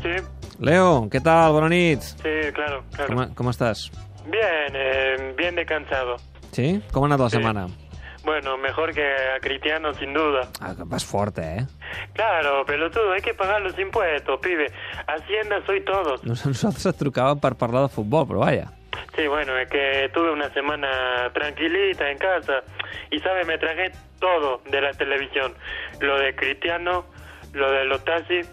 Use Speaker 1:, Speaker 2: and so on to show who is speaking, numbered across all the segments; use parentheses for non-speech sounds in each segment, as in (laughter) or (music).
Speaker 1: Sí,
Speaker 2: Leo, ¿qué tal? Buenas nits.
Speaker 1: sí, claro, claro.
Speaker 2: ¿Cómo, cómo estás?
Speaker 1: Bien, eh, bien de cansado.
Speaker 2: Sí? ¿Cómo ha anat la
Speaker 1: Sí.
Speaker 2: semana?
Speaker 1: Bueno, mejor que a Cristiano, sin duda.
Speaker 2: Ah, vas fuerte, eh?
Speaker 1: Claro, pelotudo, hay que pagar los impuestos, pibe. Hacienda soy todos.
Speaker 2: Nos- Nosaltres et trucàvem per parlar de futbol, però vaja.
Speaker 1: Sí, bueno, es que tuve una semana tranquilita en casa. Y, ¿sabe? Me traje todo de la televisión. Lo de Cristiano, lo de los taxis,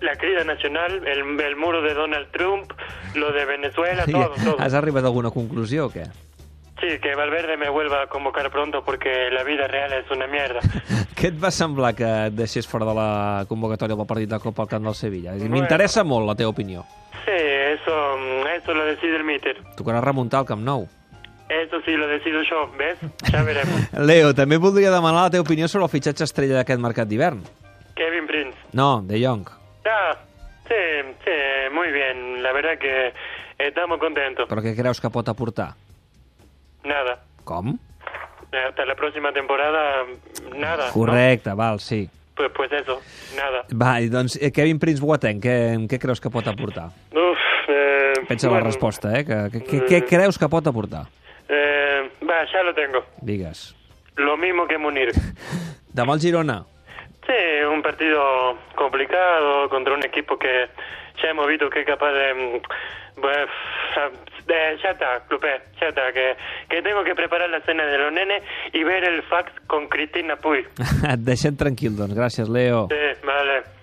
Speaker 1: la crida nacional, el, el muro de Donald Trump, lo de Venezuela, todo, todo.
Speaker 2: Has arribat a alguna conclusió o què? (laughs)
Speaker 1: Sí, que Valverde me vuelva a convocar pronto porque la vida real es una mierda.
Speaker 2: Què et va semblar que et deixés fora de la convocatòria del partit de Copa al camp del Sevilla? M'interessa molt la teva opinió.
Speaker 1: Sí, eso, mm, eso lo decide el míter.
Speaker 2: Tocarà remuntar al Camp Nou.
Speaker 1: Eso sí lo decido yo, ¿ves? Ya veremos.
Speaker 2: (laughs) Leo, també et voldria demanar la teva opinió sobre el fitxatge estrella d'aquest mercat d'hivern.
Speaker 1: Kevin Prince.
Speaker 2: No, De Jong.
Speaker 1: Ah, sí, sí, muy bien. La verdad que estamos contentos.
Speaker 2: Però què creus que pot aportar?
Speaker 1: Nada.
Speaker 2: Com?
Speaker 1: Hasta la próxima temporada, mm, nada. Ah, ¿no?
Speaker 2: Correcte, val, sí.
Speaker 1: Pues, pues eso, nada.
Speaker 2: Va, i doncs eh, Kevin Prince Boateng, què, què creus que pot aportar?
Speaker 1: Uf, eh,
Speaker 2: Pensa
Speaker 1: bueno,
Speaker 2: la resposta, eh? Que, que, que, què creus que pot aportar?
Speaker 1: eh, va, ya lo tengo.
Speaker 2: Digues.
Speaker 1: Lo mismo que Munir.
Speaker 2: Demà el Girona. (laughs)
Speaker 1: Sí, un partido complicado contra un equipo que ya hemos visto que es capaz de... mm, Pues, de- ya está, Clupé, ya está, que, que tengo que preparar la cena de los nenes y ver el fax con Cristina Puy.
Speaker 2: Et deixem tranquil, doncs. Gràcies, Leo.
Speaker 1: Sí, vale.